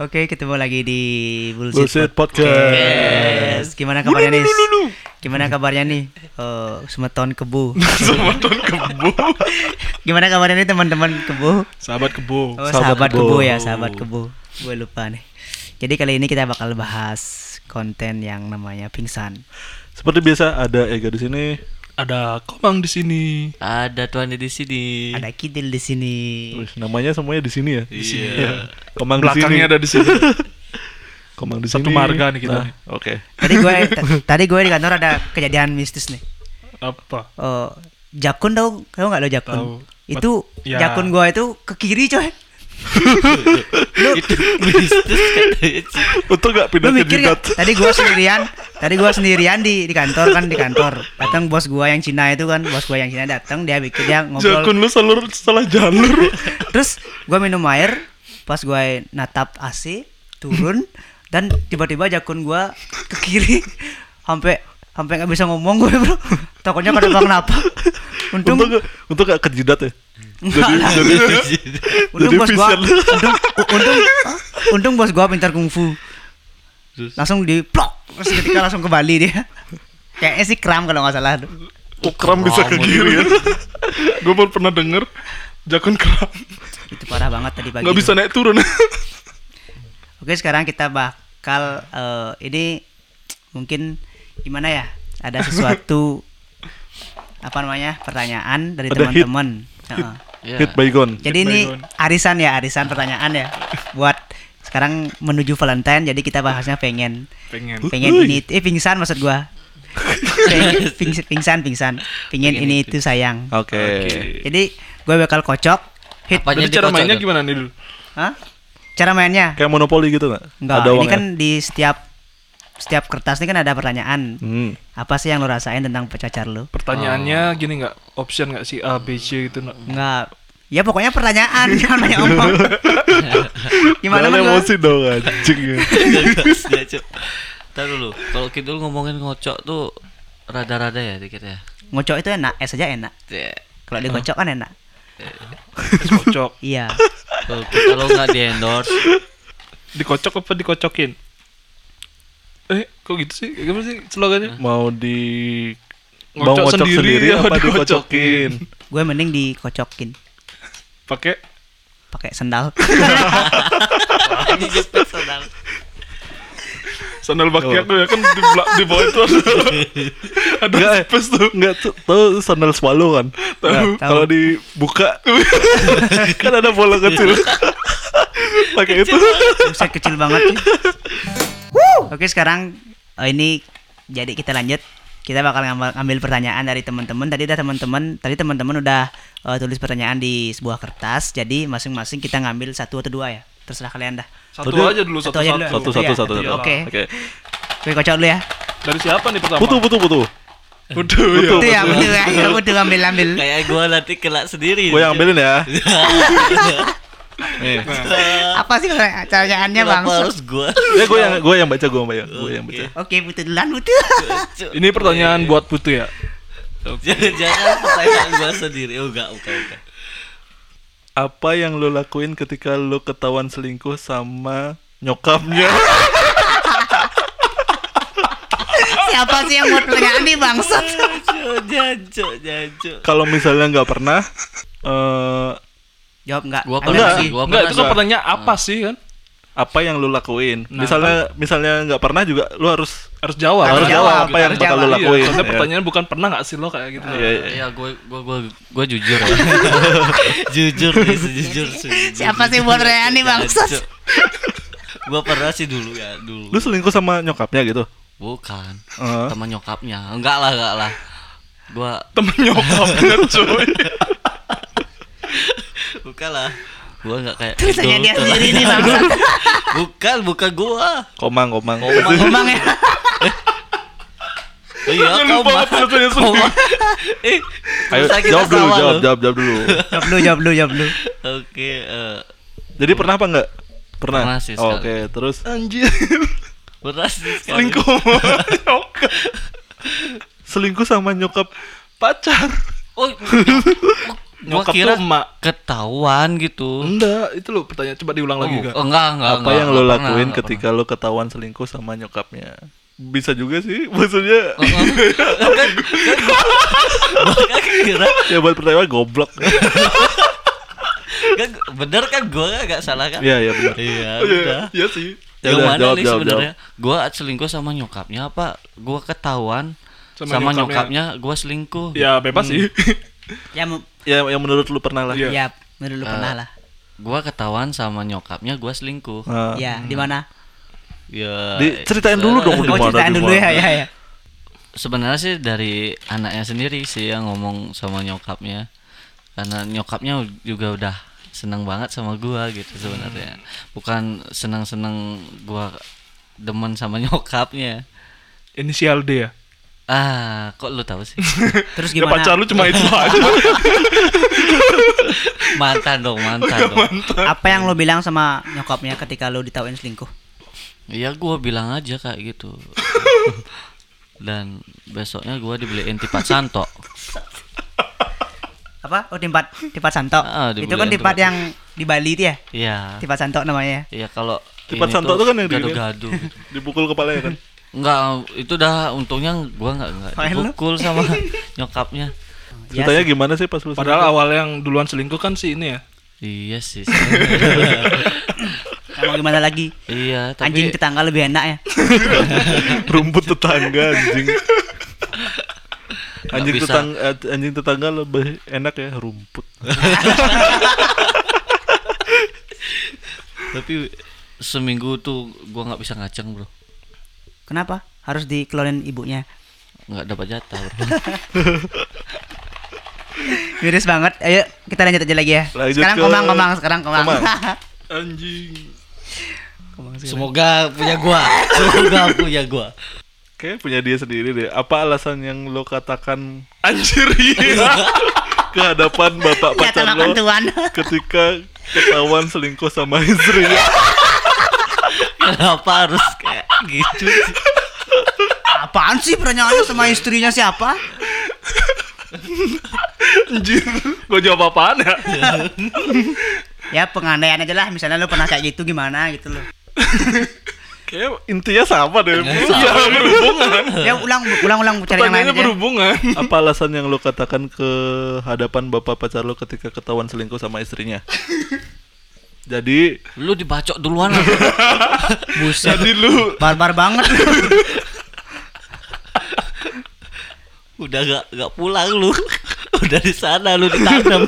Oke, ketemu lagi di Bullshit, Bullshit Podcast. Gimana kabarnya nih? Gimana kabarnya nih? Eh, semeton kebu. Semeton kebu. Gimana kabarnya nih teman-teman kebu? Sahabat kebu. Oh, Sahabat sahabat Kebu. kebu. ya, sahabat kebu. Gue lupa nih. Jadi kali ini kita bakal bahas konten yang namanya pingsan. Seperti biasa ada Ega di sini. Ada komang di sini. Ada tuannya di sini. Iya. Ada kidil di sini. Wih, namanya semuanya di sini ya. Di Iya. sini. Iya. Komang di sini. Belakangnya ada di sini. Komang di sini. Satu marga nih Nah, kita nih. Oke. Tadi gue tadi gue di kantor ada kejadian mistis nih. Apa? Oh, jakun tau tau nggak lo jakun? Tahu. Itu Bet- Iya. ya. jakun gua itu ke kiri coy. Itu bisnis katanya sih. Untuk gak Lu pindah ke mikir Eh, jidat. gak? Tadi gua sendirian, tadi gua sendirian di di kantor kan di kantor. Datang bos gua yang Cina itu kan, bos gua yang Cina datang dia bikin dia ngobrol. Jakun lu salur salah jalur. Terus gua minum air, pas gua natap AC turun dan tiba-tiba jakun gua ke kiri sampai sampai nggak bisa ngomong gue bro takutnya kenapa kenapa untung Untuk gak, untuk gak ke jidat ya. Jadi Nggak lah. jadi Hmm. Untung Jadi bos gua, vision. untung, u- untung, untung bos gua pintar kungfu. Langsung di plok, terus ketika langsung ke Bali dia. Kayaknya sih kram kalau nggak salah. ukram bisa ke kiri ya. Gue baru pernah denger jakun keram. Itu parah banget tadi pagi. Nggak tuh. bisa naik turun. Oke, sekarang kita bakal eh, ini mungkin gimana ya? Ada sesuatu apa namanya? pertanyaan dari Ada hit. teman-teman. Heeh. Ya. Hit bygone. Jadi Hit by ini one. arisan ya, arisan pertanyaan ya buat sekarang menuju Valentine jadi kita bahasnya pengen Pengen. pengen Uhuy. ini eh pingsan maksud gua Pengen- pings- pingsan pingsan pengen ini itu sayang Oke. jadi gue bakal kocok hit Apanya Jadi cara dikocok mainnya tuh? gimana nih dulu? Hah? cara mainnya Kayak monopoli gitu gak? enggak Ada ya? ini uangnya. kan di setiap setiap kertas ini kan ada pertanyaan Hmm. apa sih yang lo rasain tentang pacar lo Oh. Pertanyaannya gini nggak? Option nggak sih A, B, C gitu nggak? enggak ya pokoknya pertanyaan jangan banyak omong gimana Jangan men gua? emosi dong anjing. Gagas dia, Cuk. Ntar dulu. Kalau Kidul ngomongin ngocok tuh rada-rada ya dikit ya. ngocok itu enak es aja enak Ya. kalau dikocok kan enak Dikocok. iya Kalau- Kalau nggak di endorse, Dikocok apa dikocokin? Eh, kok gitu sih? Gimana sih slogannya? Mau di Ngocok mau Hmm. ngocok sendiri sendiri, apa apa dikocokin? dikocokin? gue mending dikocokin Pakai pakai sendal dijepit sandal. sandal baki Oh. aku ya kan di, belak- di bawah itu ada, ada Nggak, eh. space tuh. Enggak tuh, tuh sandal swallow kan. Nah, Tahu. kalau dibuka kan ada bola kecil. Iya. Pakai itu. Buset kecil banget. cuy. Oke sekarang eh, ini jadi kita lanjut. Kita bakal ngambil, ngambil pertanyaan dari teman-teman. Tadi udah teman-teman, tadi teman-teman udah eh, tulis pertanyaan di sebuah kertas. Jadi masing-masing kita ngambil satu atau dua ya. Terserah kalian dah. Satu Tadi- aja dulu Satu satu aja satu. dulu. Satu satu Iya, satu. iya. satu. Oke. Gue kocok dulu ya. Dari siapa nih pertama? Putu putu putu. Putu. Putu. Itu ya, udah ya, ya, udah ambil ambil. Kayak gua nanti kelak sendiri. Gue yang ambilin ya. Iya. Nih. Apa sih pertanyaannya bang? Kenapa harus gua? Ya gue yang gue yang baca gue yang baca. Gue yang baca. Oke, butuh duluan butuh. Cuk. Ini pertanyaan buat Putu ya. Jangan-jangan pertanyaan gua sendiri. Oh, enggak, bukan, bukan. Apa yang lo lakuin ketika lo ketahuan selingkuh sama nyokapnya? Siapa sih yang buat pertanyaan nih bangsat? Cuk, jancuk, jancuk. Kalau misalnya nggak pernah, eh Jawab enggak? Gua Ada pernah nggak sih, gua Enggak, itu kan pernah. pertanyaan apa sih kan? apa yang lo lakuin? Nah, misalnya misalnya nggak pernah juga lo harus Harus jawab. Harus jawab, apa yang bakal lu lakuin. Iya, soalnya Iya. pertanyaan bukan pernah nggak sih lo kayak gitu. Iya, iya. Iya, gue gue gue gue jujur. ya. jujur nih, sejujur sejujur. Siapa sih buat Reani, bangsat? Gue pernah sih dulu ya, dulu. lu selingkuh sama nyokapnya gitu. Bukan. Eh. Teman nyokapnya. Enggak lah, enggak lah. Gua Temen nyokapnya cuy. bukan lah. Gua enggak kayak Terus idol hanya dia tuh. sendiri nih bangsat. Bukan, bukan gua. Komang, komang. Komang. Ngomong ya. Iya, Jangan kau lupa apa tuh yang sendiri. Eh, Ayo terus kita jawab dulu, jawab, sama loh. jawab, jawab dulu. Jawab dulu, jawab dulu, jawab dulu. Oke, eh, Jadi pernah apa enggak? Pernah. Pernah sih Oh, Oke, sekali. terus Anjir. beras nih sekali. Selingkuh sama nyokap. selingkuh sama nyokap Pacar. Oh, gua Nyokap kira tuh emak. ketahuan gitu. Enggak, itu lo pertanyaan coba diulang lagi Oh, gak? enggak, enggak, Apa enggak, yang lo enggak pernah, lakuin enggak ketika lo ketahuan selingkuh sama nyokapnya? Bisa juga sih, maksudnya Oh, pernah. Kan, Gua kan kira ya buat pertanyaan goblok. kan bener kan gua agak salah kan? Iya, iya benar. Iya, Iya, udah. iya sih. Ya Yang udah, mana jawab, nih jawab, sebenarnya? Gua selingkuh sama nyokapnya apa? Gua ketahuan Sama sama, nyokapnya. nyokapnya. gua selingkuh. Iya. Ya bebas sih. Ya, mu- jawab. Ya, yang menurut lu pernah lah. Iya. ya menurut lu pernah lah. Gua ketahuan sama nyokapnya gua selingkuh. Nah, Ya, di mana? Ya. di- ceritain dulu dong di Oh, mana, ceritain di dulu ya, mana. ya, ya. sebenarnya sih dari anaknya sendiri sih yang ngomong sama nyokapnya karena nyokapnya juga udah seneng banget sama gua gitu sebenarnya Hmm. bukan seneng-seneng gua demen sama nyokapnya Inisial D ya. ah kok lu tahu sih Terus Ya gimana? pacar lu cuma itu aja. mantan dong Oh, mantan iya, dong Apa yang lu bilang sama nyokapnya ketika lu ditauin selingkuh? Iya gua bilang aja kayak gitu dan besoknya gua dibeliin tipat santok Apa? Oh, timpat, timpat santok. Ah, di itu kan bulan timpat tuh. yang di Bali itu ya? iya Timpat santok namanya. ya? iya kalau Tipat ini santok tuh kan yang diginiin. gaduh-gaduh gitu. Dipukul kepalanya kan. Enggak, itu dah untungnya gua enggak enggak Main lu. dipukul sama nyokapnya. Ya, Ceritanya gimana sih pas lu Padahal awal yang duluan selingkuh kan si ini ya. Iya sih. sebenarnya. Mau gimana lagi? iya, Anjing tapi tetangga lebih enak ya. rumput tetangga anjing anjing bisa. tetangga anjing tetangga lebih enak ya rumput tapi seminggu tuh gua nggak bisa ngaceng, Bro. Kenapa? Harus dikeluarin ibunya. Nggak dapat jatah, Bro. Miris banget. Ayo kita lanjut aja lagi ya. Lanjut sekarang ke- komang, komang, sekarang komang. Komang. Anjing. Semoga punya gua. Semoga punya gua. kayak punya dia sendiri deh apa alasan yang lo katakan Anjir iya. ke hadapan bapak Ya pacar tolong lo Tuhan. ketika ketahuan selingkuh sama istri Kenapa harus kayak gitu? sih? Apaan sih pertanyaannya sama istrinya siapa? Anjir. Gua jawab apaan ya? Ya pengandaian aja lah. Misalnya lu pernah kayak gitu gimana gitu loh. kayak intinya sama deh Ya berhubungan. Ya ulang, ulang, ulang cari yang lain Pertanyaannya aja. berhubungan. apa alasan yang lo katakan ke hadapan bapak pacar lo ketika ketahuan selingkuh sama istrinya jadi Lu dibacok duluan lah. Buset. Jadi lu Barbar banget. Udah gak, nggak pulang lu. Udah di sana lu ditanam.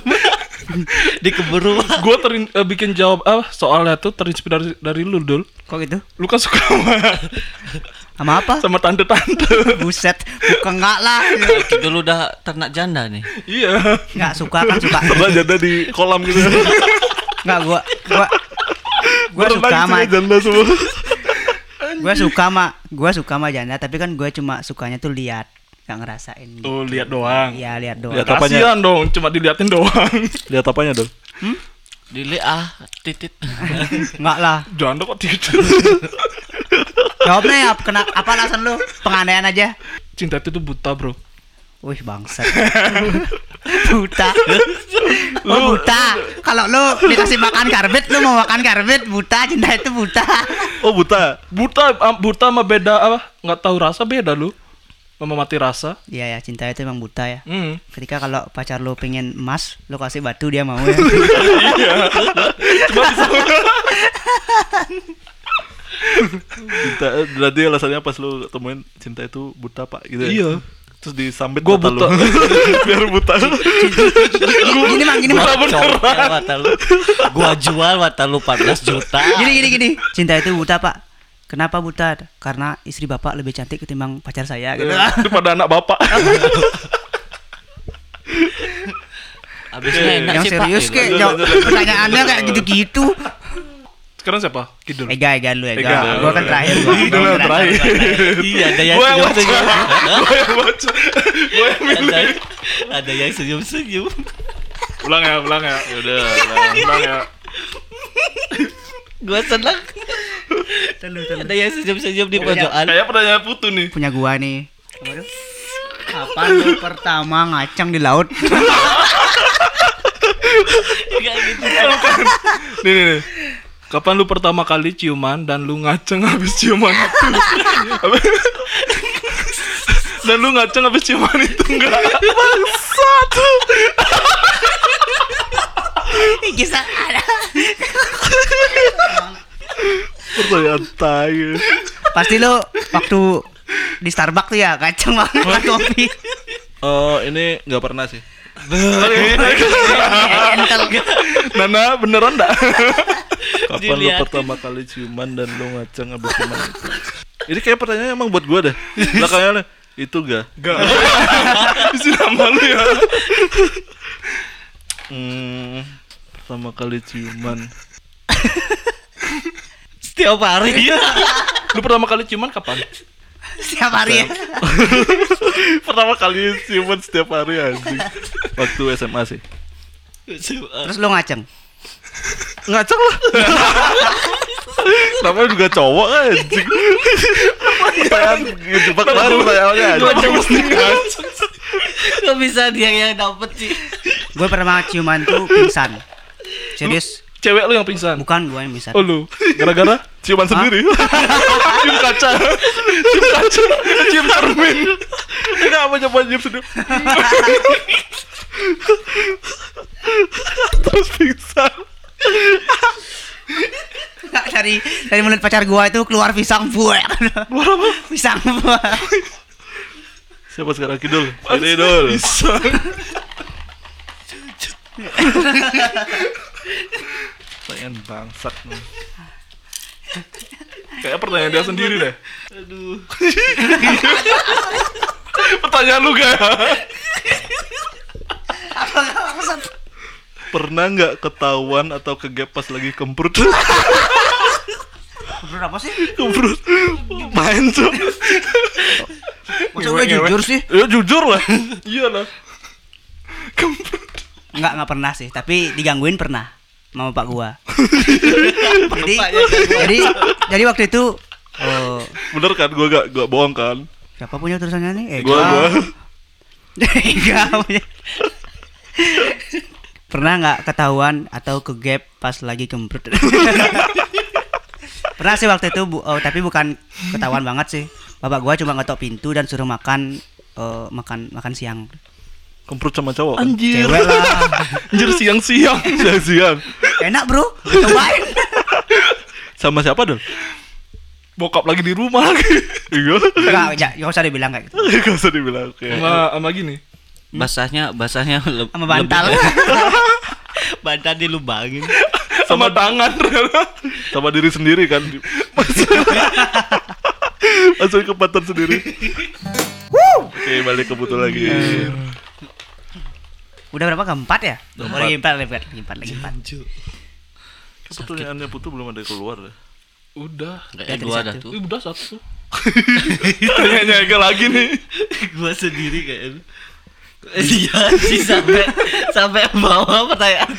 Dikebur rumah. gue terin eh, bikin jawab ah soalnya tuh terinspirasi dari lu dul Kok gitu? lu kan suka sama Sama apa? sama tante-tante Buset, bukan enggak lah. Kita lu udah ternak janda nih. iya Enggak suka kan suka. pernah janda di kolam gitu Enggak gua gua gua Berenang suka sama isinya janda semua gua suka sama gua suka sama janda tapi kan gua cuma sukanya tuh lihat, enggak ngerasain. tuh lihat doang Iya, lihat doang. Ya, Lihat apanya? kasihan dong cuma diliatin doang lihat apanya dong Dili ah titit. Enggak lah. janda kok tidur Jawabnya ya, kena, apa alasan lu? Pengandaian aja. cinta itu tuh buta bro Wih bangsat. buta. Oh, buta. Kalau lu dikasih makan karbit, lu mau makan karbit, buta. Cinta itu buta. oh buta buta ah, buta sama beda apa nggak tahu rasa beda lu sama mati rasa Iya ya, cinta itu emang buta ya. hmm. Ketika kalau pacar lu pengen emas, lu kasih batu dia mau ya. cinta eh, berarti alasannya pas lu temuin cinta itu buta pak gitu ya? Iya. terus disambit Gua mata lu. buta. biar buta gini mang, gini mang. Gua copel mata lu. Gua jual mata lu 14 juta. Gini gini gini. Cinta itu buta pak. Kenapa buta? Karena istri bapak lebih cantik ketimbang pacar saya. Iya. Gitu. Eh, itu pada anak bapak Abisnya enak Yang sih serius Pak. Iya, kek, jawab- pertanyaannya kayak gitu-gitu. sekarang siapa kidul Ega, Ega lu, Ega, Ega. Gua kan Ega. terakhir. gua- Gidul gua yang ngerasa- terakhir. Iya, ada yang gue yang senyum baca senyum. gue yang baca gue yang Ada, milih ada yang senyum senyum. ulang ya ulang ya udah ulang ya Gua seneng. Ada yang senyum senyum di pojokan. kayak Iya, pertanyaan putu nih Punya gua nih. Apa tuh? Kapan lu pertama ngacang di laut? Enggak gitu. nih, nih, nih. Kapan lu pertama kali ciuman dan lu ngaceng habis ciuman itu? Apa- dan lu ngaceng habis ciuman itu enggak? Ini kisah ada. Pertanyaan tai. Pasti lo waktu di Starbucks tuh ya kacang banget sama kopi. Eh ini nggak pernah sih. Entel. Nana beneran enggak? Kapan lu Diliatin. pertama kali ciuman dan lu ngaceng abis ciuman? Ini kayak pertanyaan emang buat gua deh. Belakangnya nih, itu gak? Enggak. Isi nama lu ya. Hmm, pertama kali ciuman. Setiap hari ya. Lu pertama kali ciuman kapan? Setiap hari ya. pertama kali ciuman setiap hari anjing. Waktu SMA sih. Terus lo ngaceng. Ngaceng lah. Namanya juga cowok anjing. Pertanyaan gitu banget pertanyaannya anjing. Enggak bisa dia yang dapet sih. Gue pernah ciuman tuh pingsan. Serius, Cewek lu yang pingsan. bukan gue yang pingsan. Oh lu. Gara-gara ciuman sendiri. cium kaca. Cium kaca. Cium cermin. Enggak apa coba cium sendiri. Terus pingsan. Nggak, dari dari mulut pacar gue itu keluar pisang buah. Pisang buah. Siapa sekarang Kidul? Ini Dul. Pertanyaan bangsat nih. Kayak pertanyaan dia sendiri deh. Aduh. pertanyaan lu gak? Pernah nggak ketahuan atau kegep pas lagi kemprut? Bro, apa sih? kemprut. Main tuh. Maksud gue jujur sih? Ya jujur lah. Iya lah. Enggak, enggak pernah sih, tapi digangguin pernah sama pak gua. jadi jadi jadi waktu itu oh, Bener kan? Gue gak, gak bohong kan? siapa punya tulisannya nih? Gue gue. Enggak punya. Pernah nggak ketahuan atau ke gap pas lagi kemprut? Pernah sih waktu itu, bu, oh, tapi bukan ketahuan banget sih. Bapak gua cuma ngetok pintu dan suruh makan eh, makan makan siang. Kemprut sama cowok. kan? Anjir. Cewek lah. Anjir siang-siang. Siang-siang. Enak, Bro. Cobain. Sama siapa dong? Bokap lagi di rumah lagi. Iya. Enggak, enggak, enggak usah dibilang kayak gitu. Gak usah dibilang. Oke. Sama sama gini. Basahnya basahnya le- Sama bantal. lebih- bantal dilubangin. Sama tangan. Sama diri sendiri kan? Masuk ke pantat sendiri. Oke, balik ke butuh lagi. Iya. Udah berapa? Keempat ya? Oh, lagi empat, lagi empat, lagi empat, lagi empat. Pertanyaannya putu belum ada yang keluar deh. Udah. Kayak Dari dua satu. dah tuh. Ih, udah satu. Tanya Ega lagi nih. gua sendiri kayaknya iya sih sampai sampai bawah pertanyaan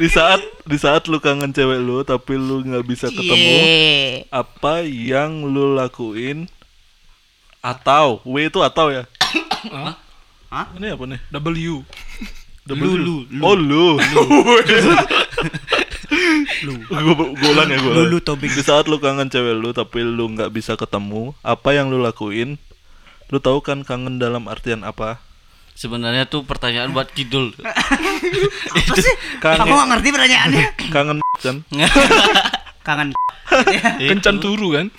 Di saat di saat lu kangen cewek lu tapi lu nggak bisa Iya. ketemu, Yeay. apa yang lu lakuin? Atau W itu atau ya? Hah? Ini apa nih? W. Lu, lu, Oh lu. lu. Gua- gua ulang ya gua. ulang. Lu, lu, Tobing. Di saat lu kangen cewek lu tapi lu nggak bisa ketemu, apa yang lu lakuin? Lu tahu kan kangen dalam artian apa? sebenarnya tuh pertanyaan buat kidul Apa sih? Kangen. Kamu nggak ngerti pertanyaannya? Kangen kan? Kangen. Iya, Kencan turu kan?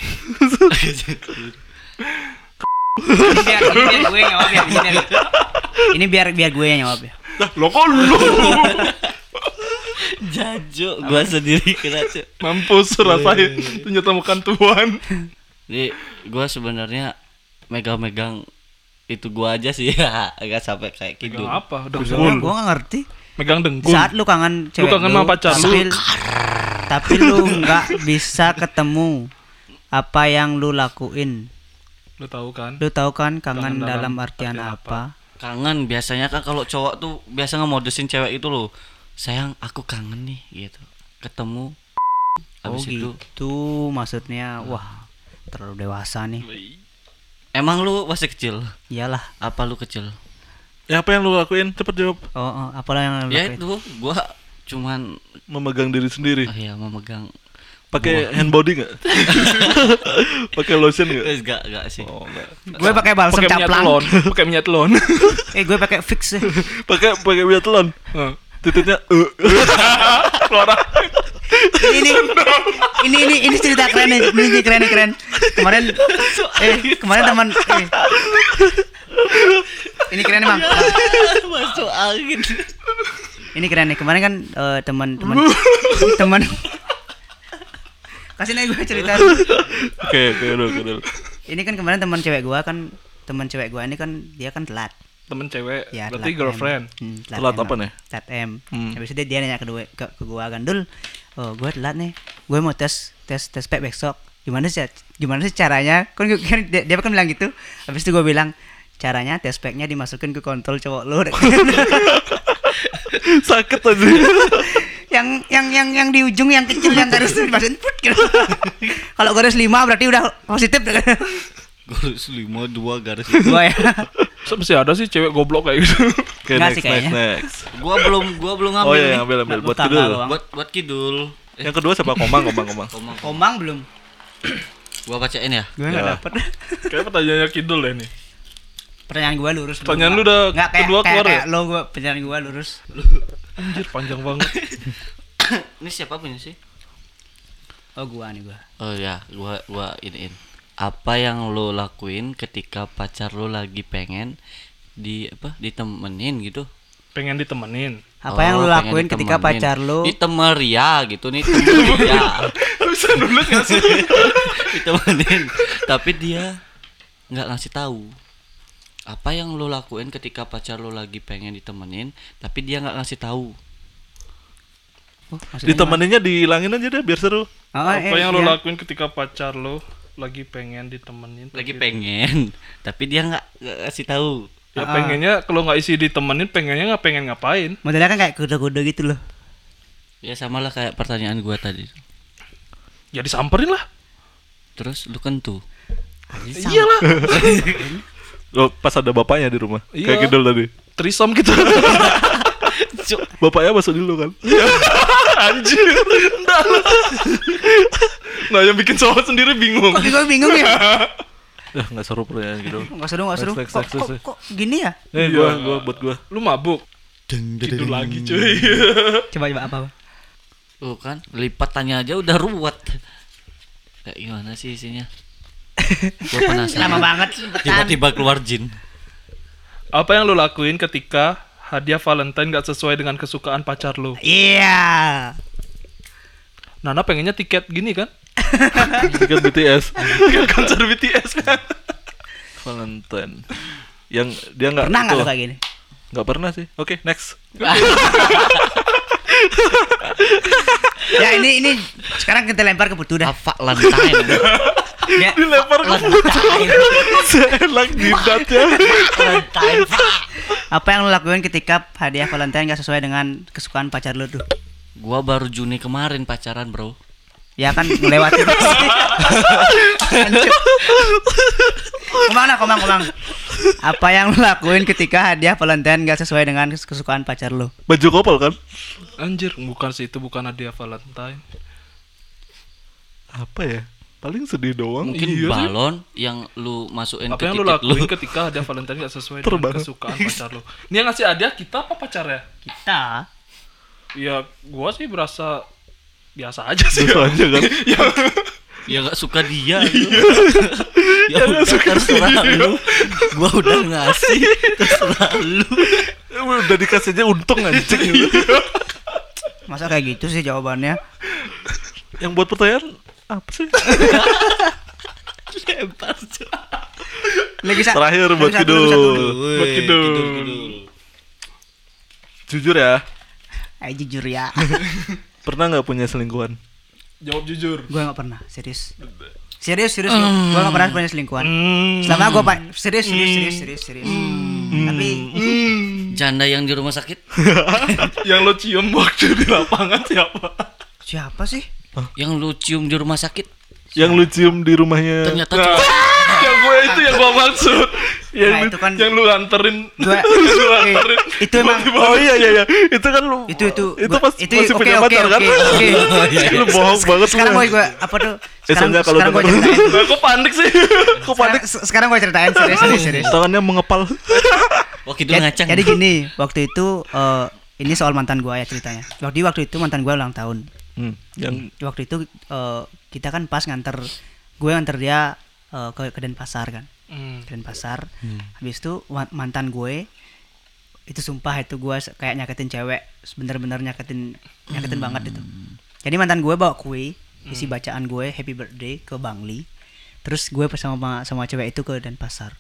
biar, biar gue yang jawab ya ini biar, ini biar biar gue yang jawab ya Lo kok lu? jajo gua sendiri kena Cuk. Mampus rasain. Ternyata bukan Tuhan. jadi gua sebenarnya megang-megang itu gua aja sih agak sampai kayak kidul Megang apa? Gue Dengkul. nggak ngerti Megang Di dengkul. saat lu kangen cewek kangen sama pacar lu. tapi, tapi lu nggak bisa ketemu apa yang lu lakuin Lo tahu kan? lu tahu kan kangen, Kangen dalam, dalam artian, artian apa, kangen biasanya kan kalau cowok tuh biasa ngemodesin cewek itu loh sayang aku kangen nih gitu ketemu oh habis itu gitu maksudnya wah terlalu dewasa nih emang lu masih kecil iyalah apa lu kecil Ya apa yang lu lakuin? Cepet jawab. Oh, oh apalah yang lu ya lakuin? itu gua cuman Memegang diri sendiri. oh ya memegang Pakai hand body nggak? Pakai lotion nggak? Eh, enggak enggak sih Oh, nggak. Gue pakai balsam pakai minyak telon Eh, caplang. pakai minyak telon Eh, gue pakai fix. eh. Pakai pakai minyak telon. Heeh. Titiknya eh. ini ini ini ini ini cerita keren nih ini cerita keren nih keren kemarin eh kemarin teman eh. ini keren nih bang Eh, masuk angin ini keren nih kemarin kan eh, teman teman teman kasih nih gue cerita Oke, oke dulu, oke dulu. ini kan kemarin teman cewek gue kan teman cewek gue ini kan dia kan telat temen cewek ya berarti telat girlfriend M. Hmm, Telat M, apa Bang. nih? telat M habis itu dia, dia nanya ke, gue- ke, ke gue kan dul oh, gue telat nih gue mau tes tes tes pep besok gimana sih gimana sih caranya kan, gue- kan dia, dia kan bilang gitu habis itu gue bilang caranya tes speknya dimasukin ke kontrol cowok lu Sakit aja. yang yang yang yang di ujung yang kecil yang garis dimasukin put, gitu. kalau garis lima berarti udah positif garis lima dua garis gue ya So, masih ada sih cewek goblok kayak gitu Oke, Nggak next, sih kayaknya. next, next. gua belum gua belum ngambil Oh iya, nih. ambil ambil Nggak buat buka, kidul. nggak buka. buat buat kidul eh, Yang kedua siapa? Komang, komang, komang. komang komang belum gua bacain ya gue nggak Ya. dapet kayak pertanyaannya kidul deh nih pertanyaan gue lurus Pertanyaan lu udah Nggak, kayak, kedua kayak, keluar ya? kayak lo gue pertanyaan gue lurus anjir panjang banget ini siapa punya sih oh gue nih gue oh ya gua gua iniin apa yang lo lakuin ketika pacar lo lagi pengen di apa ditemenin gitu pengen ditemenin apa yang lo Oh, pengen lakuin ketika ditemenin. pacar lo ditemeria gitu nih temeria bisa nulis gak sih ditemenin tapi dia nggak ngasih tahu apa yang lo lakuin ketika pacar lo lagi pengen ditemenin tapi dia nggak ngasih tahu Oh, maksudnya Ditemeninnya dihilangin aja deh biar seru. gimana? Oh, apa eh, yang lo iya. lakuin ketika pacar lo lagi pengen ditemenin lagi tapi- pengen tapi dia nggak nggak ngasih tahu ya Ah. pengennya kalau nggak isi ditemenin pengennya nggak pengen ngapain modelnya kan kayak kuda-kuda gitu loh ya sama lah kayak pertanyaan gua tadi ya disamperin lah terus lu kan kentu iyalah Loh, Oh, pas ada bapaknya di rumah. Iya. Kayak kidul tadi. trisom gitu Bapaknya masuk dulu kan. anjir Nggak lah. nah yang bikin soal sendiri bingung kok gue bingung ya Ya, enggak seru pertanyaan kidul. nggak seru nggak seru Next, next, kok, next, kok, next. kok gini ya Iya. Eh, gua gua buat gua. lu mabuk gitu lagi cuy coba coba apa, apa? Tuh kan lipatannya aja udah ruwet kayak gimana sih isinya gua lama penasaran banget tiba-tiba keluar jin apa yang lo lakuin ketika hadiah Valentine nggak sesuai dengan kesukaan pacar lo iya Nana pengennya tiket gini kan Tiket BTS. tiket konser BTS kan Valentine. Yang dia enggak pernah nggak lo kayak gitu? gini Enggak pernah sih. Oke, next. ya ini ini sekarang kita lempar ke putu dah apa lantai ya Dilempar ke Seenak jidat ya. apa yang lo lakuin ketika hadiah Valentine nggak sesuai dengan kesukaan pacar lo tuh gua baru Juni kemarin pacaran bro ya kan melewati Kemana komang komang apa yang lo lakuin ketika hadiah Valentine nggak sesuai dengan kesukaan pacar lo Baju kopel kan? anjir bukan sih itu bukan hadiah Valentine Apa ya? Paling sedih doang. Iya. mungkin balon yang lu masukin apa ke yang lo titik lu lakuin ketika hadiah Valentine nggak sesuai dengan Terbang. kesukaan pacar lo ini yang ngasih hadiah kita apa pacarnya kita ya gua sih berasa biasa aja sih Biasa aja kan? Iya. ya nggak suka dia lu. ya udah terserah lu gua udah ngasih terserah lu Udah dikasih aja untung anjing. masa kayak gitu sih jawabannya Yang buat pertanyaan apa sih? lempar Cok. lagi sa- Terakhir lagi buat satu, lagi satu. Kidul. Woi, Kidul. kidul-kidul. Jujur ya, Ayo jujur ya pernah nggak punya selingkuhan? jawab jujur gue nggak pernah serius serius serius gue nggak pernah punya selingkuhan selama gue pa- serius serius serius serius serius tapi janda yang di rumah sakit yang lo cium waktu di lapangan siapa siapa sih yang lu cium di rumah sakit Yang lu cium di rumahnya ternyata cowok yang gue itu yang Ya, gua maksud. Yang, Nah, lu- itu kan- yang lu anterin. Gua- lu anterin. Eh, itu emang- Tiba-tiba- Oh iya iya iya. Itu kan lu itu itu itu gua- pas itu masih oke punya oke pacar kan? oke oke Lu bohong banget lu. sekarang mau gue apa tuh sekarang Soalnya kalau sekarang gue denger- ceritain Lah, Kok Nah, panik sih? Kok panik? Sekarang, sekarang gue ceritain serius serius serius. Tangannya mengepal. Waktu itu Jadi, ngaceng. jadi gini, waktu itu eh, ini soal mantan gue ya ceritanya. Waktu waktu itu mantan gue ulang tahun. Hmm, yang Waktu itu eh, kita kan pas nganter gue nganter dia eh, ke ke Denpasar kan. Hmm. Denpasar. Habis itu wa- mantan gue itu sumpah itu gue se- kayak nyakitin cewek, bener-bener nyakitin nyakitin banget itu. Jadi mantan gue bawa kue isi bacaan gue Happy Birthday ke Bangli. Terus gue sama sama cewek itu ke Denpasar.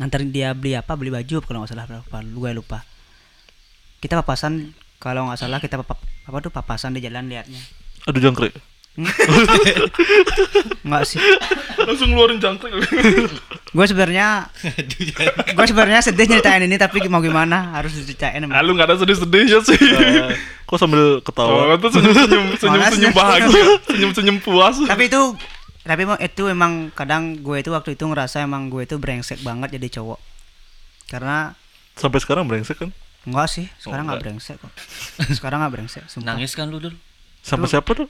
Nganterin dia beli apa? Beli baju kalau nggak salah berapa? Gue lupa. Kita papasan kalau nggak salah kita papa, apa tuh papasan di jalan liatnya. aduh jangkrik. Nggak sih. Langsung ngeluarin jangkrik. Gue sebenarnya gue sebenarnya sedih nyeritain ini tapi mau gimana harus diceritain Ah, emang. lu gak ada sedih-sedihnya sih. Eh, Kok sambil Oh, ketawa? itu senyum-senyum senyum-senyum Malas ya. bahagia, senyum-senyum puas. tapi itu tapi emang itu emang kadang gue itu waktu itu ngerasa emang gue itu brengsek banget jadi cowok karena Sampai sekarang brengsek kan? enggak sih sekarang Oh, nggak brengsek kok sekarang nggak brengsek sumpah Hmm? Nangis kan lu dulu. Sampai siapa tuh?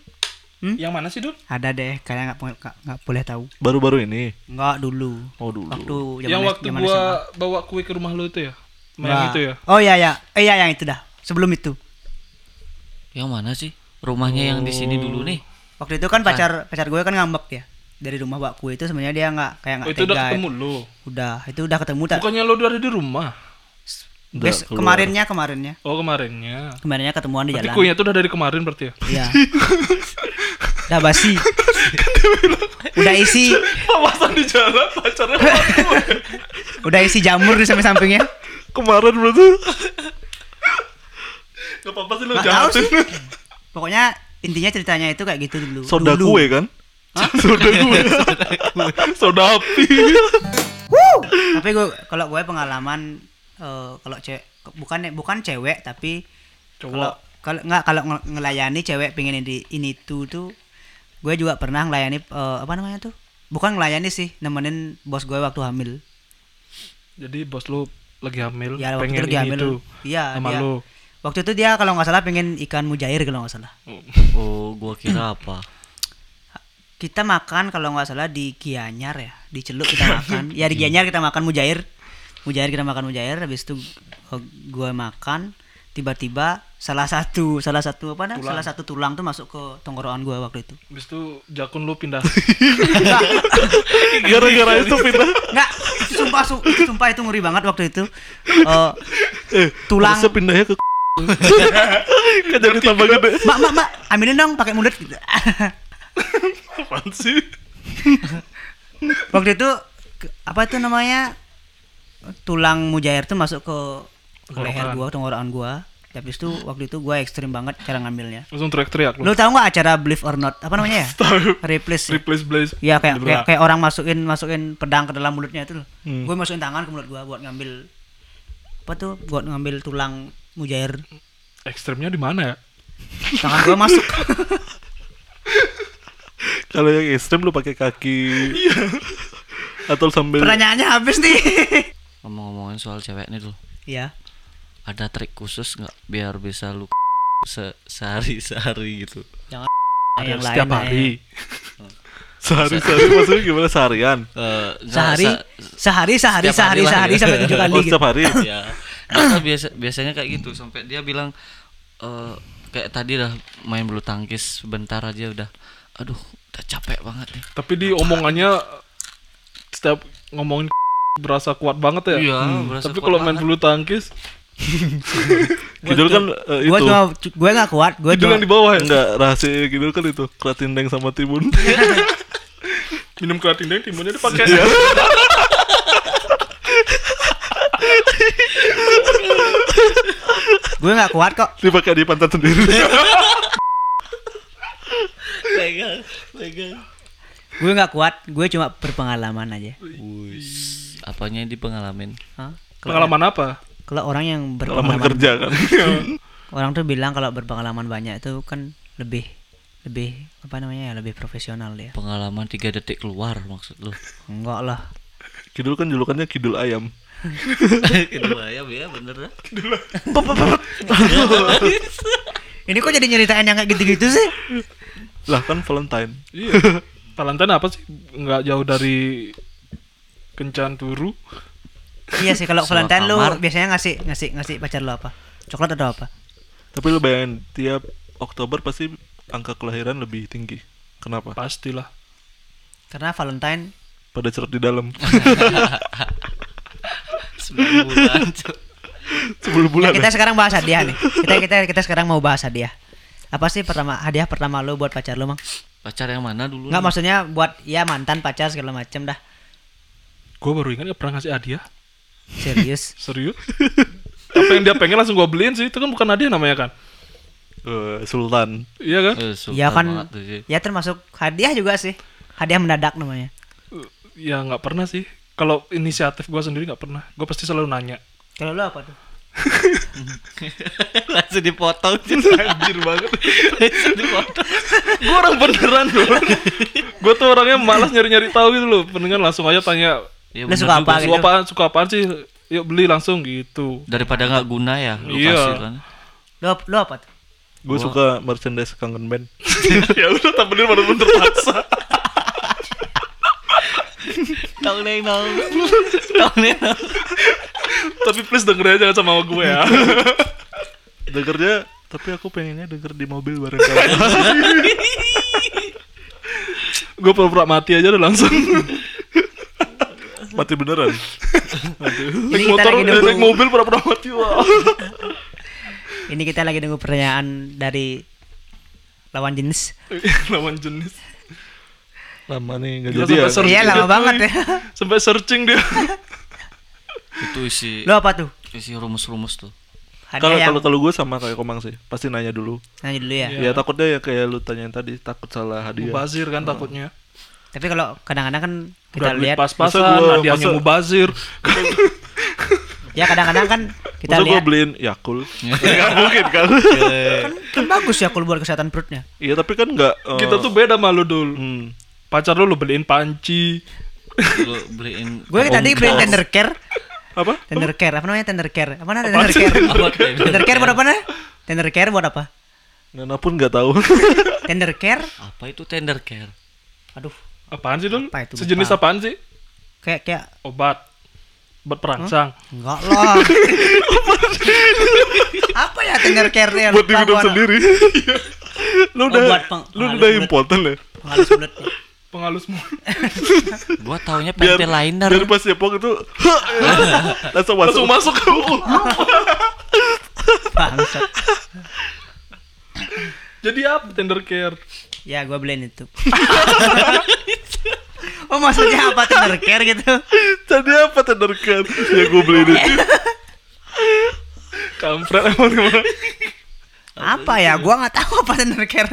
Yang mana sih, Dul? ada deh kalian nggak po- nggak nggak boleh tahu Baru-baru ini. nggak dulu Oh dulu. Ah. waktu zaman Yang S- waktu zaman gua SMA. bawa kue ke rumah lu itu ya? Nggak. Main itu ya? oh iya iya eh, iya yang itu dah sebelum itu Yang mana sih? Rumahnya yang di sini dulu nih. waktu itu kan pacar pacar gue kan ngambek ya dari rumah Mbak Kue itu sebenarnya dia nggak kayak Oh, nggak itu udah tega. ketemu lu. udah itu udah ketemu tak Bukannya lu udah ada di rumah? Udah Bes- keluar. kemarinnya kemarinnya Oh, kemarinnya. kemarinnya ketemuan di Berarti jalan kuenya tuh udah dari kemarin berarti ya? Iya. Udah basi. Udah isi, Papasan di jalan pacarnya udah isi jamur di samping-sampingnya. Kemarin berarti. Gak apa-apa sih lu Nggak tahu jahatin sih. Pokoknya intinya ceritanya itu kayak gitu dulu. Soda dulu. kue kan? Soda kue. Soda api Tapi gue kalau gue pengalaman eh, kalau cewek bukan bukan cewek tapi kalau Cowok kalau nggak kalau nge- ngelayani cewek pengen ini ini tuh tuh gue juga pernah ngelayani eh, apa namanya tuh bukan ngelayani sih nemenin bos gue waktu hamil Jadi bos lu lagi hamil ya waktu itu Pengen lagi ini hamil tuh iya Sama dia- lu waktu itu dia kalau nggak salah pengen ikan mujair kalau nggak salah Oh, gua kira apa? kita makan kalau nggak salah di Gianyar ya di Celuk kita makan ya di Gianyar kita makan mujair mujair kita makan mujair habis itu eh, gue makan tiba-tiba salah satu salah satu apa nah, salah satu tulang tuh masuk ke tenggorokan gue waktu itu Abis itu jakun lu pindah Gara-gara Iya, itu pindah. nggak itu sumpah su- sumpah itu ngeri banget waktu itu Eh, Eh, Tulang. harusnya pindahnya ke kan jadi tambah gede. mbak mbak mbak ambilin dong pakai mulut Apaan sih? waktu itu ke- apa itu namanya tulang mujair tuh masuk ke ke leher gua tenggorokan gua habis itu waktu itu gua ekstrim banget cara ngambilnya Langsung teriak-teriak lu lu tahu nggak acara believe or not apa namanya ya replace ya? Replace blaze ya kayak, kayak kayak orang masukin masukin pedang ke dalam mulutnya itu loh Hmm. gue masukin tangan ke mulut gua buat ngambil apa tuh buat ngambil tulang mujair Ekstremnya di mana ya? tangan gua masuk Kalau yang ekstrem lu pakai kaki. Iya. Atau sambil pertanyaannya habis nih Ngomong-ngomongin soal cewek nih dulu. ya Ada trik khusus nggak biar bisa lu se sehari sehari gitu? yang lain Setiap lah ya. hari sehari-hari maksudnya gimana seharian? Eh, nggak, sehari sa- sehari sehari setiap sehari hari lah sehari ya. sampai tujuh kali Oh, gitu. setiap hari. ya Nah, biasa biasanya kayak gitu sampai dia bilang eh, kayak tadi dah main bulu tangkis sebentar aja udah aduh udah capek banget nih Tapi di omongannya Setiap ngomongin berasa kuat banget ya Iya, Hmm. berasa Tapi kuat kalau main banget. bulu tangkis Kidul kan eh, gue itu. kan. cuma gue nggak kuat gue Itu cuma yang di bawah ya? Enggak, rahasia Kidul kan itu. Keratin deng sama timun. Minum keratin deh, timunnya dipakai Iya. gue nggak kuat kok Dipakai di pantat sendiri. gue nggak kuat gue cuma berpengalaman aja apanya yang dipengalamin Hah? kalau Pengalaman apa? kalau orang yang Pengalaman berpengalaman kerja kan. orang tuh bilang kalau berpengalaman banyak itu kan lebih lebih apa namanya ya lebih profesional dia Pengalaman 3 detik keluar maksud lu. enggak lah Kidul kan julukannya Kidul Ayam. Kedua ya, ya bener. ini kok jadi nyeritain yang kayak gitu-gitu sih Lah kan Valentine. Iya. Valentine apa sih? Nggak jauh dari kencan turu. iya sih kalau Sama Valentine lu kamar. biasanya ngasih ngasih ngasih pacar lu apa coklat atau apa Tapi lu bayangin tiap Oktober pasti angka kelahiran lebih tinggi. Kenapa? Pastilah. karena Valentine Pada cerut di dalam. 9 bulan. cu. Sebelum Nah, bulan. kita ya? sekarang bahas hadiah nih kita kita kita sekarang mau bahas hadiah apa sih pertama hadiah pertama lu buat pacar lu mang Pacar yang mana dulu? nggak maksudnya buat ya mantan pacar segala macem dah Gue baru ingat nggak pernah ngasih hadiah. serius Serius? apa yang dia pengen langsung gue beliin sih. Itu kan bukan hadiah namanya kan? Eh, Sultan. Iya kan? Eh, suka ya kan banget tuh sih. ya termasuk hadiah juga sih hadiah mendadak namanya Ya nggak pernah sih. Kalau inisiatif gue sendiri nggak pernah. Gue pasti selalu nanya. kalau lu apa tuh Langsung dipotong. cu. Anjir banget. Langsung dipotong. gue orang beneran loh. gue tuh orangnya malas nyari-nyari tahu gitu loh. Pendengar langsung aja tanya. Ya, Lu bener suka juga. apa? Suka gitu. apaan? Suka apaan sih? Yuk beli langsung gitu. Daripada nggak guna ya, lu Iya. kasih kan. lu, lu apa tuh Gue suka merchandise kangen band. ya udah tak bener bener terpaksa. Tong neng nong. Tong neng nong. Tapi please dengerin aja sama gue ya. Dengernya tapi aku pengennya denger di mobil bareng kamu. gue pura-pura mati aja udah langsung. Mati beneran. Ini naik kita motor, lagi eh, naik nunggu- mobil pura-pura mati. Wah. ini kita lagi nunggu pertanyaan dari lawan jenis Lawan jenis. Lama nih nggak Gila, jadi ya. sampai search Iya, lama dia, banget coy. ya. Sampai searching dia. Itu isi lu apa tuh isi rumus-rumus tuh. hadiah Kalau yang kalau kalau gue sama kayak Komang sih, pasti nanya dulu. nanya dulu Iya. ya Ya takutnya ya kayak lu tanyain tadi takut salah hadiah. Iya. Mubazir kan takutnya. tapi kalau kadang-kadang kan kita Udah beli lihat pas-pasan, Masa gua- hadiahnya masa- mubazir. ya kadang-kadang kan kita Masa gue lihat Iya. beliin ya, Yakul? Gak mungkin kan? kan, kan bagus ya kalau buat kesehatan perutnya Iya tapi kan nggak. eh, Kita tuh beda sama lu dul. hmm, Pacar lu lu beliin panci. Lu beliin gue tadi beli tender care apa? tender care apa namanya tender care apa namanya tender care Apa tuh? tender care buat apa nih tender care buat apa Nana pun nggak tahu. tender care apa itu tender care? aduh Apaan sih dul? Apa itu? Sejenis Lupa. apaan sih? kayak kayak Obat. Obat perangsang. enggak lah apa ya tender care ya Buat diminum sendiri. lu Oh, udah buat peng- lu halus udah buat- impoten ya. pengalus mulut Pengalus mulut. Gua taunya pente liner. biar pas siapong itu langsung masuk. Langsung masuk ke bangsat Jadi apa tender care? ya gue beliin itu oh maksudnya apa tender care gitu Tadi apa tender care? Ya gue beliin itu. Kampret emang gimana? apa ya gue nggak tahu apa tender care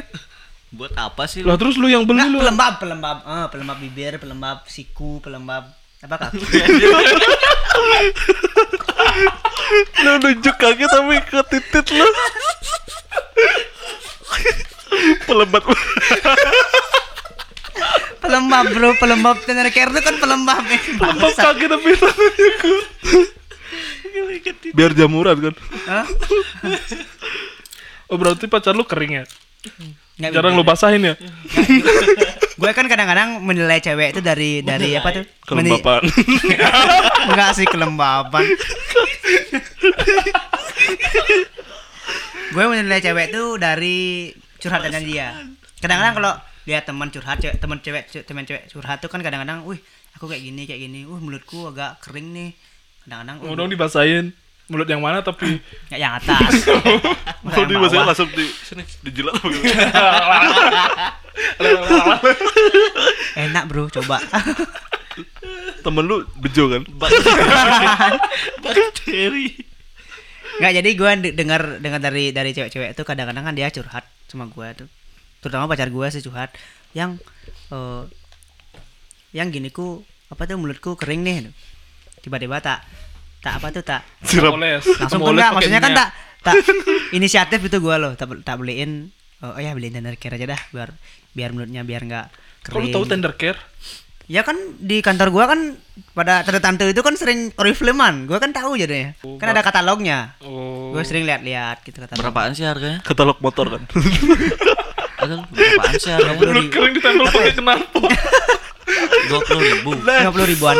Buat apa sih Lah lu? terus lu yang beli Enggak, lu. pelembab, pelembab. Eh, pelembab bibir, pelembab siku, pelembab apa kaki. Lu nunjuk kaki tapi ke titit lu. Pelebat. pelembab, Bro. Pelembab tenar care itu kan pelembab. ya. Pelembab kaki tapi tangannya ke- Biar jamuran kan. Hah? Oh berarti pacar lu kering ya? Nggak Jarang lu bisa. basahin ya? Gue kan kadang-kadang menilai cewek itu dari dari apa tuh? Meni- Kelembapan. Enggak sih kelembaban. gue menilai cewek itu dari curhatannya dia. ya. Kadang-kadang kalau lihat teman curhat, cewek, teman cewek, teman cewek curhat tuh kan kadang-kadang, wih, aku kayak gini, kayak gini, uh mulutku agak kering nih. Kadang-kadang, Mau "Wih, dong dibasahin. Mulut yang mana tapi Ya, yang atas. Masa yang Kalau di bahasa bawah. langsung di sini dijilat apa gitu. Enak bro, coba. Temen lu bejo kan? Bakteri. Nggak jadi gue de- dengar dengar dari dari cewek-cewek itu kadang-kadang kan dia curhat sama gue tuh, terutama pacar gue sih curhat yang eh, yang gini ku apa tuh mulutku kering nih tiba-tiba tak tak apa tuh tak Siram. oles. langsung Sama tuh oles nggak pakai maksudnya kan minyak. tak tak inisiatif itu gue loh tak, tak beliin eh, eh, oh ya beli tender care aja dah biar biar mulutnya biar nggak Kok lu kering. tahu tender care? Ya kan di kantor gua kan pada tante-tante itu kan sering oriflamean. Gua kan tahu jadinya. Kan ada katalognya. Oh. Gua sering lihat-lihat gitu katalog. Berapaan sih harganya? Katalog motor kan. Ada lu, berapaan sih harganya? Lu kering ditempel pakai knalpot. Dua puluh ribu, 50 ribuan.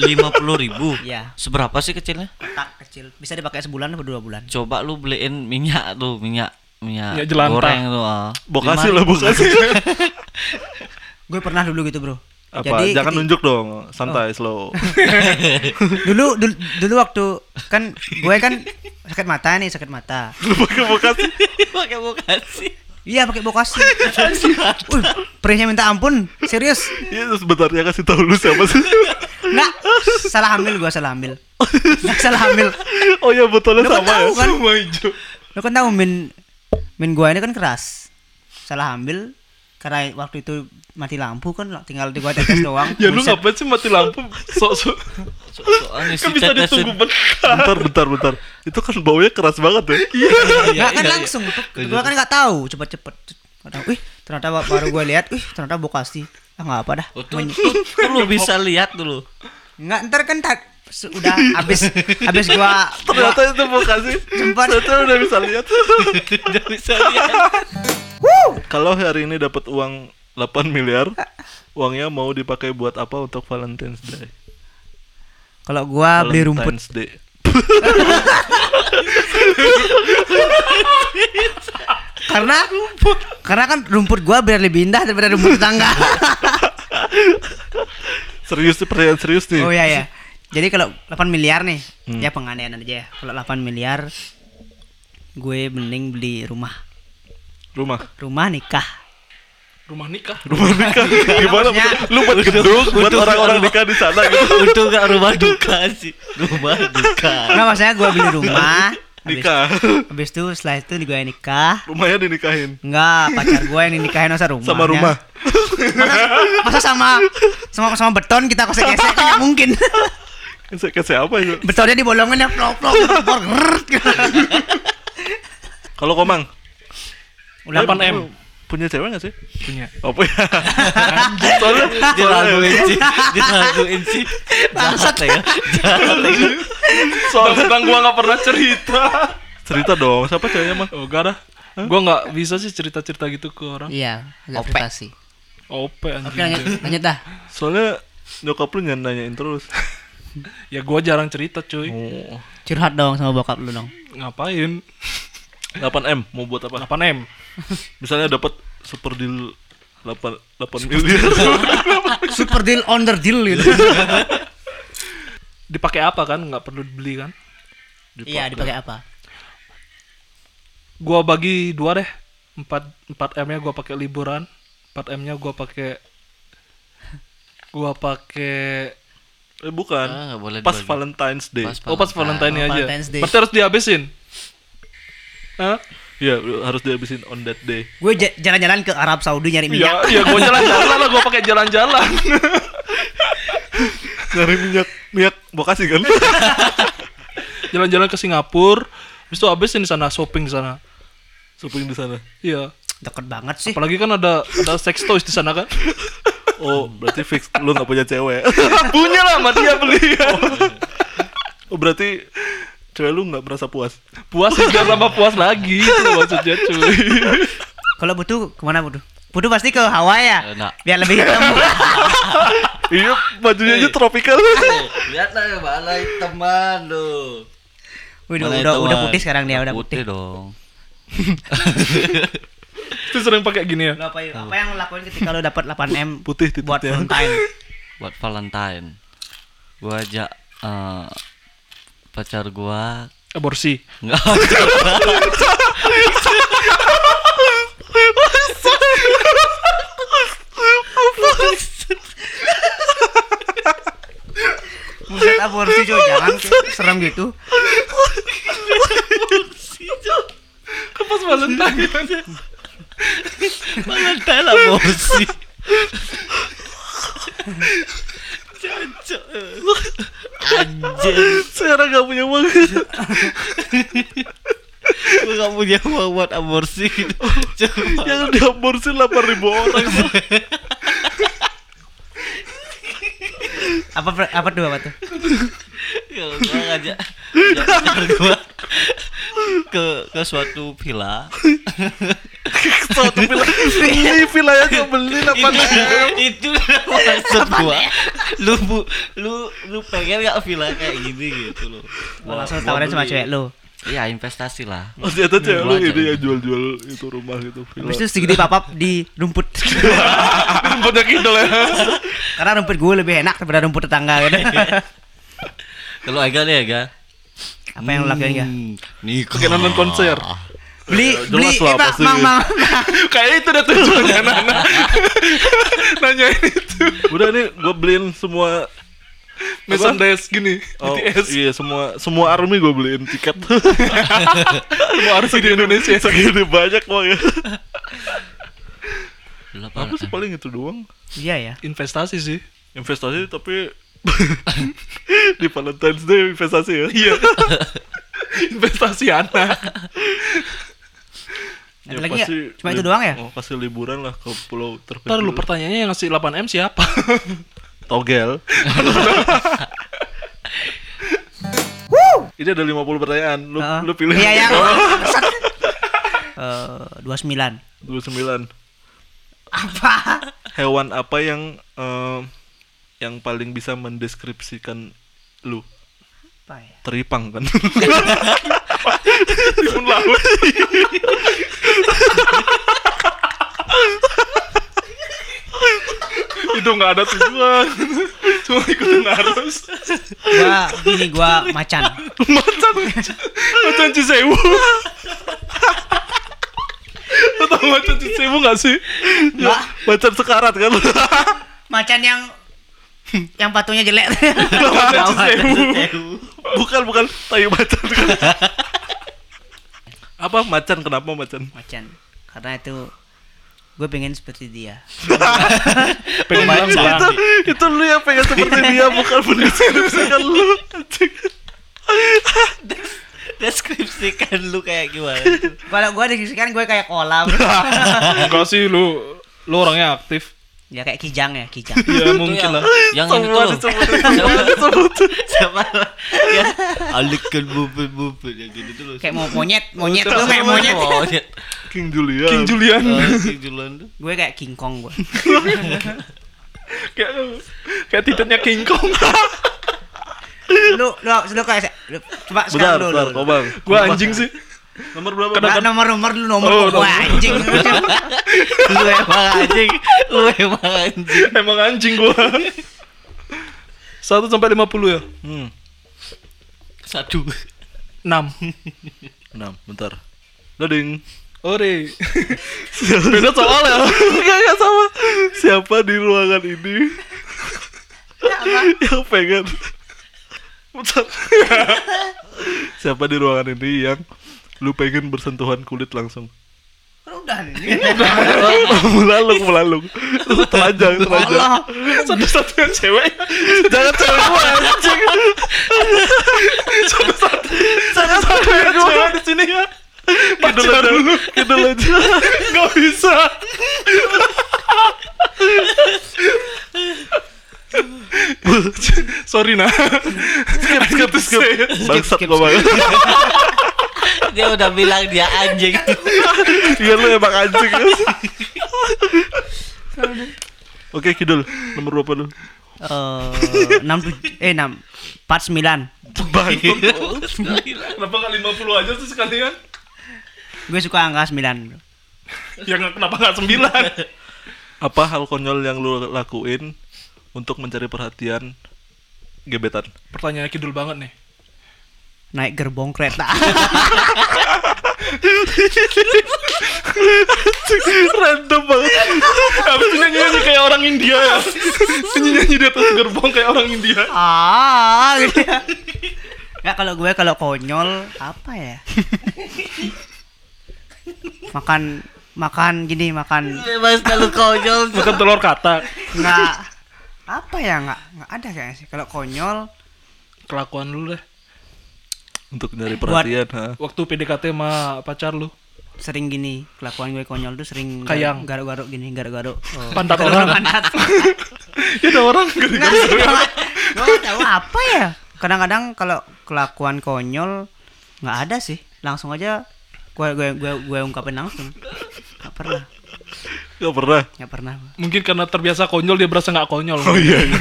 lima puluh ribu. Iya. Seberapa sih kecilnya? Kotak kecil. Bisa dipakai sebulan atau dua bulan. Coba lu beliin minyak tuh, minyak minyak, Minyak jelantah. goreng tuh. ah. Bokasi Lima lah, bokasi. Gue pernah dulu gitu, Bro. Apa? Jangan keti- nunjuk dong, Oh. santai slow. dulu, dulu dulu waktu kan gue kan sakit mata nih, sakit mata. Lu pakai bokasi. Pakai bokasi. Iya, pakai bokasi. Uh, perihnya minta ampun, serius. Iya, terus bentarnya kasih tahu lu siapa sih. Enggak, salah hamil gua salah hamil. salah hamil. oh ya botolnya Lu kan sama ya. tahu kan? Rumah hijau. Lu kan tahu min min gua ini kan keras. Salah ambil karena waktu itu mati lampu kan tinggal di gua tetes doang. Ya lu Buset. ngapain sih mati lampu? Sok-sok. Soalnya Kan bisa ditunggu bentar. Bentar, bentar, bentar. Itu kan baunya keras banget ya. Iya, Nggak, kan langsung. gitu. Gua kan nggak tahu, cepet-cepet. Nggak tahu. Wih, ternyata ba- baru gua lihat, wih, ternyata bokasi. Ah nggak apa dah. Tuh, tuh, tuh lu bisa lihat dulu. Nggak ntar kan tak udah habis habis gua, gua Ternyata itu bokasi. Jembat. Ternyata udah bisa lihat. Udah bisa lihat. Kalau hari ini dapat uang 8 miliar, uangnya mau dipakai buat apa untuk Valentine's Day? kalau gua beli rumput Valentine's Day. karena karena kan rumput gua biar lebih indah daripada rumput tetangga. Serius nih pertanyaan serius nih. Oh iya ya. Jadi kalau 8 miliar nih, Hmm. ya penganiayaan aja ya. Kalau 8 miliar gue mending beli rumah. Rumah. Rumah nikah. Rumah nikah. Rumah nikah. Gimana? maksudnya- Lu buat gedung buat orang-orang nikah di sana gitu. Untung gak rumah duka sih. Rumah duka. Enggak maksudnya gue beli rumah. habis- Nikah. Habis itu setelah itu gue nikah. Rumahnya dinikahin. Enggak, pacar gue yang dinikahin masa rumah. Sama rumah. Masa sama sama sama beton kita kosek-kesek kan nggak mungkin. Kayak kayak apa itu? Betonnya dibolongin ya plok-plok. bor, grrrt. Kalau Komang, Udah 8M. punya cewek gak sih? Punya. Apa ya? Soalnya Diraguin sih. Diraguin sih. Jahat ya. Jahat ya. Soalnya tentang gua nggak pernah cerita. cerita dong, siapa ceweknya mah? Oh, gak dah. Gua nggak bisa sih cerita-cerita gitu ke orang. Iya, agak Ope. frustasi. OP Oke, anjing. lanjut, lanjut dah. Soalnya nyokap lu nyan- nanyain terus. Ya gua jarang cerita, cuy. Oh. Curhat dong sama bokap lu dong. Ngapain? 8M mau buat apa? 8M. Misalnya dapat super deal 8 8 miliar. Super deal under deal gitu. Dipakai apa kan? Nggak perlu dibeli kan? Iya, dipakai apa? Gua bagi dua deh. 4 4M-nya gua pakai liburan. 4M-nya gua pakai gua pakai eh bukan. Ah, nggak boleh Pas dibagi. Valentine's Day. Pas Oh pas Valentine Oh, aja. Valentine's Day. Berarti harus dihabisin. Hah? Iya, harus dihabisin on that day. Gue ja- jalan-jalan ke Arab Saudi nyari Ya, minyak. ya gue jalan-jalan lah, gue pakai jalan-jalan. Cari minyak minyak bokasi kan. jalan-jalan ke Singapura, habis itu habisin di sana shopping di sana. Suping di sana. Iya. Deket banget sih. Apalagi kan ada ada sex toys di sana kan? Oh, berarti fix lu nggak punya cewek. Punya lah sama dia beli. Oh, berarti cewek lu nggak merasa puas. Puas sih biar tambah puas lagi itu maksudnya cuy. Kalau butuh kemana butuh? Butuh pasti ke Hawaii ya. Eh, enggak. Biar lebih hitam. Iya, bajunya aja tropical. Lihatlah ya balai teman lu. Wih, udah, Balai udah, udah teman. putih sekarang dia udah putih. dong. Itu sering pakai gini ya. Lu apa, apa yang lo lakuin ketika lo dapat 8M Putih titiknya. buat Valentine? Buat Valentine. Gua ajak eh, pacar gua Aborsi. Enggak. Buset aborsi cuy, jangan serem gitu. Kan pas Valentine kan. Valentine lah bosi. Anjir. Sekarang nggak punya uang. gue gak punya uang buat aborsi Coba yang diaborsi 8000 orang apa per- apa dua apa tuh Kalau gue ngajak Ngajak gue ke, ke suatu villa satu villa ini villanya cuma beli 8000 itu maksud gua lu bu, lu lu pengen gak villa kayak gini gitu lo Lo langsung tawarin sama cewek lo iya investasi lah oh ternyata cewek lu Gua aja. ini yang jual-jual itu rumah gitu villa habis itu segede papap di rumput tempatnya kidul ya karena rumput gue lebih enak daripada rumput tetangga gitu. kalau Ega deh Ega apa yang lo lakuin ya nih kayak nonton konser Ah. beli Hmm. Ya, beli jelas lah, eh, pak pasti. mang mang kayak itu udah tujuannya Nana nanyain itu udah nih gue beliin semua merchandise gini Oh, BTS iya semua semua army gue beliin tiket. semua army di Indonesia segini banyak uangnya. Apa sih paling itu doang? iya ya investasi sih Investasi tapi di Valentine's Day investasi ya. Iya. investasi anak Ada lagi nggak? Cuma itu doang ya? Oh, pasti liburan lah ke pulau terpencil. ntar lu pertanyaannya yang ngasih 8 m siapa togel. Ini ada 50 pertanyaan. Lu Heeh. lu pilih. iya yang dua sembilan 29. apa hewan apa yang eh, yang paling bisa mendeskripsikan lu apa ya teripang kan timun laut itu nggak ada tujuan cuma ikutin arus gua gini gua macan macan macan cisewu Lo tau macan cisewu nggak sih? Nggak. Ya, Macan sekarat kan? macan yang yang patungnya jelek Macan cisewu Sewu. Bukan bukan tayu macan kan. Apa macan kenapa macan? macan karena itu gue pengen seperti dia pengen bilang Macan. salah itu itu lu yang pengen seperti dia bukan mendeskripsikan lu. anjing. deskripsikan lu kayak gimana kalau gue dikisikan gue kayak kolam enggak sih lu lu orangnya aktif ya kayak kijang ya kijang ya Itu mungkin yang- lah yang itu Semua tuh disebutin, Siapa- disebutin. siapa yang alikan bubur bubur yang gitu tuh kayak mau monyet monyet tuh kayak monyet monyet King Julian. King Julian Oh, si Julian tuh. gue kayak King Kong gue kayak kayak titannya King Kong lu lu lu kayak lu, coba Bentar, sekarang lu bentar, Kan, lu- lu Kobang. gua anjing sih Nomor berapa? Nggak, nomor nomor lu nomor Oh, gue nomor. anjing lu emang anjing lu emang anjing emang anjing gua 1 sampai 50 ya Hmm, satu 6 enam, bentar. Dading. Ore. Beda soal ya. Enggak, enggak sama. Siapa di ruangan ini yang pengen? Bentar. Siapa di ruangan ini yang lu pengen bersentuhan kulit langsung? udah nih melalung melalung lu telanjang telanjang Allah Satu-satunya cewek. jangan cewek gua anjing Satu-satunya cewek di sini ya. kidul aja kidul aja Enggak bisa. Sorry nah. Skip skip skip. bangsat gua banget dia udah bilang dia anjing iya lu emang anjing oke kidul nomor berapa lu Eh, enam tuj- eh enam empat sembilan Kenapa enggak 50 aja sih sekalian? gue suka angka sembilan Ya nggak- kenapa enggak 9? apa hal konyol yang lu lakuin untuk mencari perhatian gebetan Pertanyaan kidul banget nih. naik gerbong kereta random banget Habis itu nyanyi kayak orang India ya. Nyanyi di atas gerbong kayak orang India. ah gitu ya. Nggak, kalau gue kalau konyol apa ya makan makan gini makan bebas kalau konyol Bukan telur katak. nggak apa ya nggak nggak ada kayaknya sih kalau konyol Kelakuan lu deh. untuk nyari perhatian ha. Waktu PDKT sama pacar lu. sering gini kelakuan gue konyol tuh sering Kayang. garuk-garuk gini garuk-garuk oh. Pantat orang. pantat ya ada orang gede. Nggak sih, gua gua nggak tahu apa ya kadang-kadang kalau kelakuan konyol nggak ada sih langsung aja gue gue gue gue ungkapin langsung nggak pernah Gak pernah nggak pernah gua. Mungkin karena terbiasa konyol dia berasa nggak konyol. Oh iya, iya.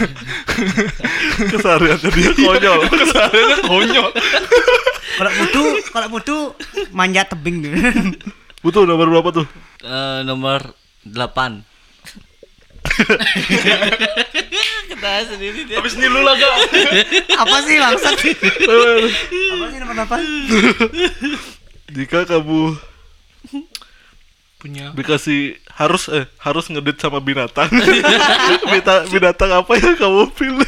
Keseharian dia konyol Kesalahannya konyol. kalau butuh kalau butuh manjat tebing gitu Butuh nomor berapa tuh? Eh, nomor 8 Ketawa sendiri dia. Habis ini lu lah gak. apa sih langsung apa sih nomor apa Jika kamu Punya dikasih harus eh harus ngedit sama binatang Bita- binatang apa yang kamu pilih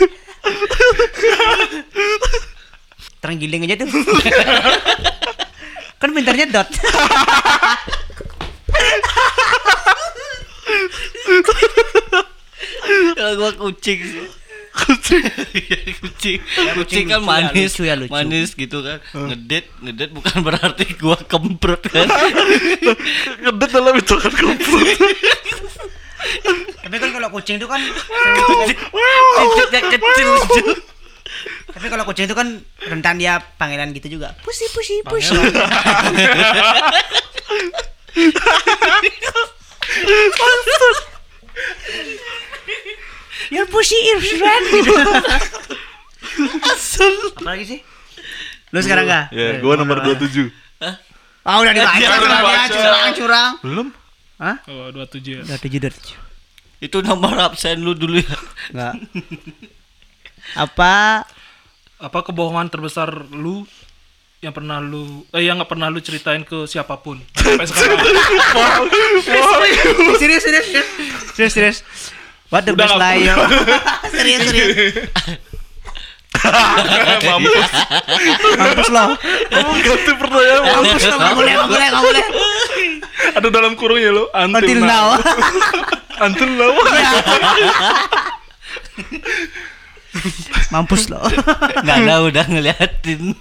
terenggiling aja tuh kan pintarnya dot Kalau gua kucing sih. kucing Iya, kucing. kucing kucing kan lucu ya, manis, lucu ya, lucu. manis gitu kan. Ngedit, ngedit bukan berarti gua kemprut kan. ngedit dalam itu kan kumpul tapi kan kalau kucing itu kan Cicitnya kecil. Cuk. tapi kalau kucing itu kan rentan dia panggilan gitu juga pusi pusi pusi Your pussy is red gitu. Apa lagi sih? Lu sekarang enggak? ya gua nomor 27 Ah udah dibaca Iya, udah curang dibaca. curang curang. belum Hah? oh, 27 ya. Udah tujuh udah tujuh. Itu nomor absen lu dulu ya. Enggak. Apa Apa kebohongan terbesar lu yang pernah lu eh yang nggak pernah lu ceritain ke siapapun sampai sekarang serius serius serius serius serius what the Udah best lah, lie yo serius serius mampus mampus lo kamu ganti pertanyaan mampus lo nggak boleh nggak boleh nggak boleh ada dalam kurungnya lo until now Ya. antil now mampus lo Enggak ada udah ngeliatin.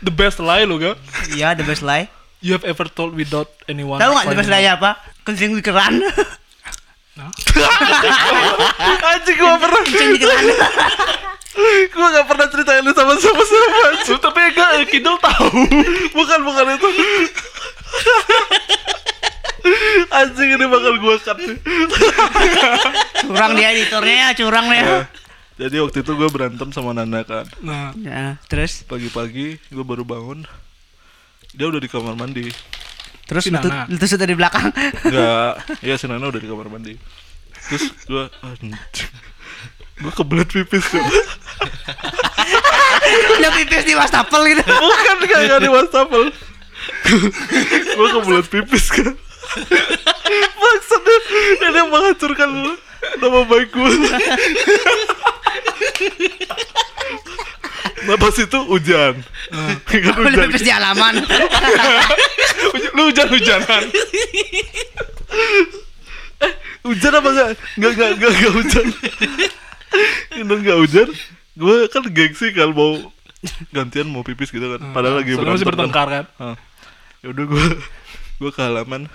the best lie lu gak iya the best lie you have ever told without anyone tahu nggak the best finding lie apa kencing di keran anjing gua pernah kencing di keran gua gak pernah ceritain lu sama sama sama anjing. tapi enggak eh, kidul tahu bukan bukan itu anjing ini bakal gua cut nih. curang dia editornya ya curang Ya. ya jadi waktu itu gua berantem sama Nana kan out. nah Ya, terus pagi-pagi gua baru bangun dia udah di kamar mandi terus Si lutut Nana. lutut dari belakang Enggak, iya si Nana udah di kamar mandi Terus gue, gue kebelet pipis tuh udah pipis di wastafel gitu Bukan, gak, gak di wastafel Gue kebelet pipis kan Maksudnya, ini menghancurkan nama baik gue Nah pas itu hujan Kan udah hujan pipis di halaman Lu hujan-hujanan Eh, Hujan apa enggak? Enggak, enggak, enggak, enggak hujan Ini enggak hujan Gue kan gengsi kan mau gantian mau pipis gitu kan Padahal lagi soalnya masih bertengkar kan Ah. Ya udah gue gue ke halaman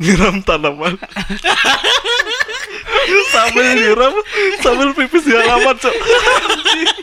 nyiram tanaman sambil nyiram sambil pipis di halaman cok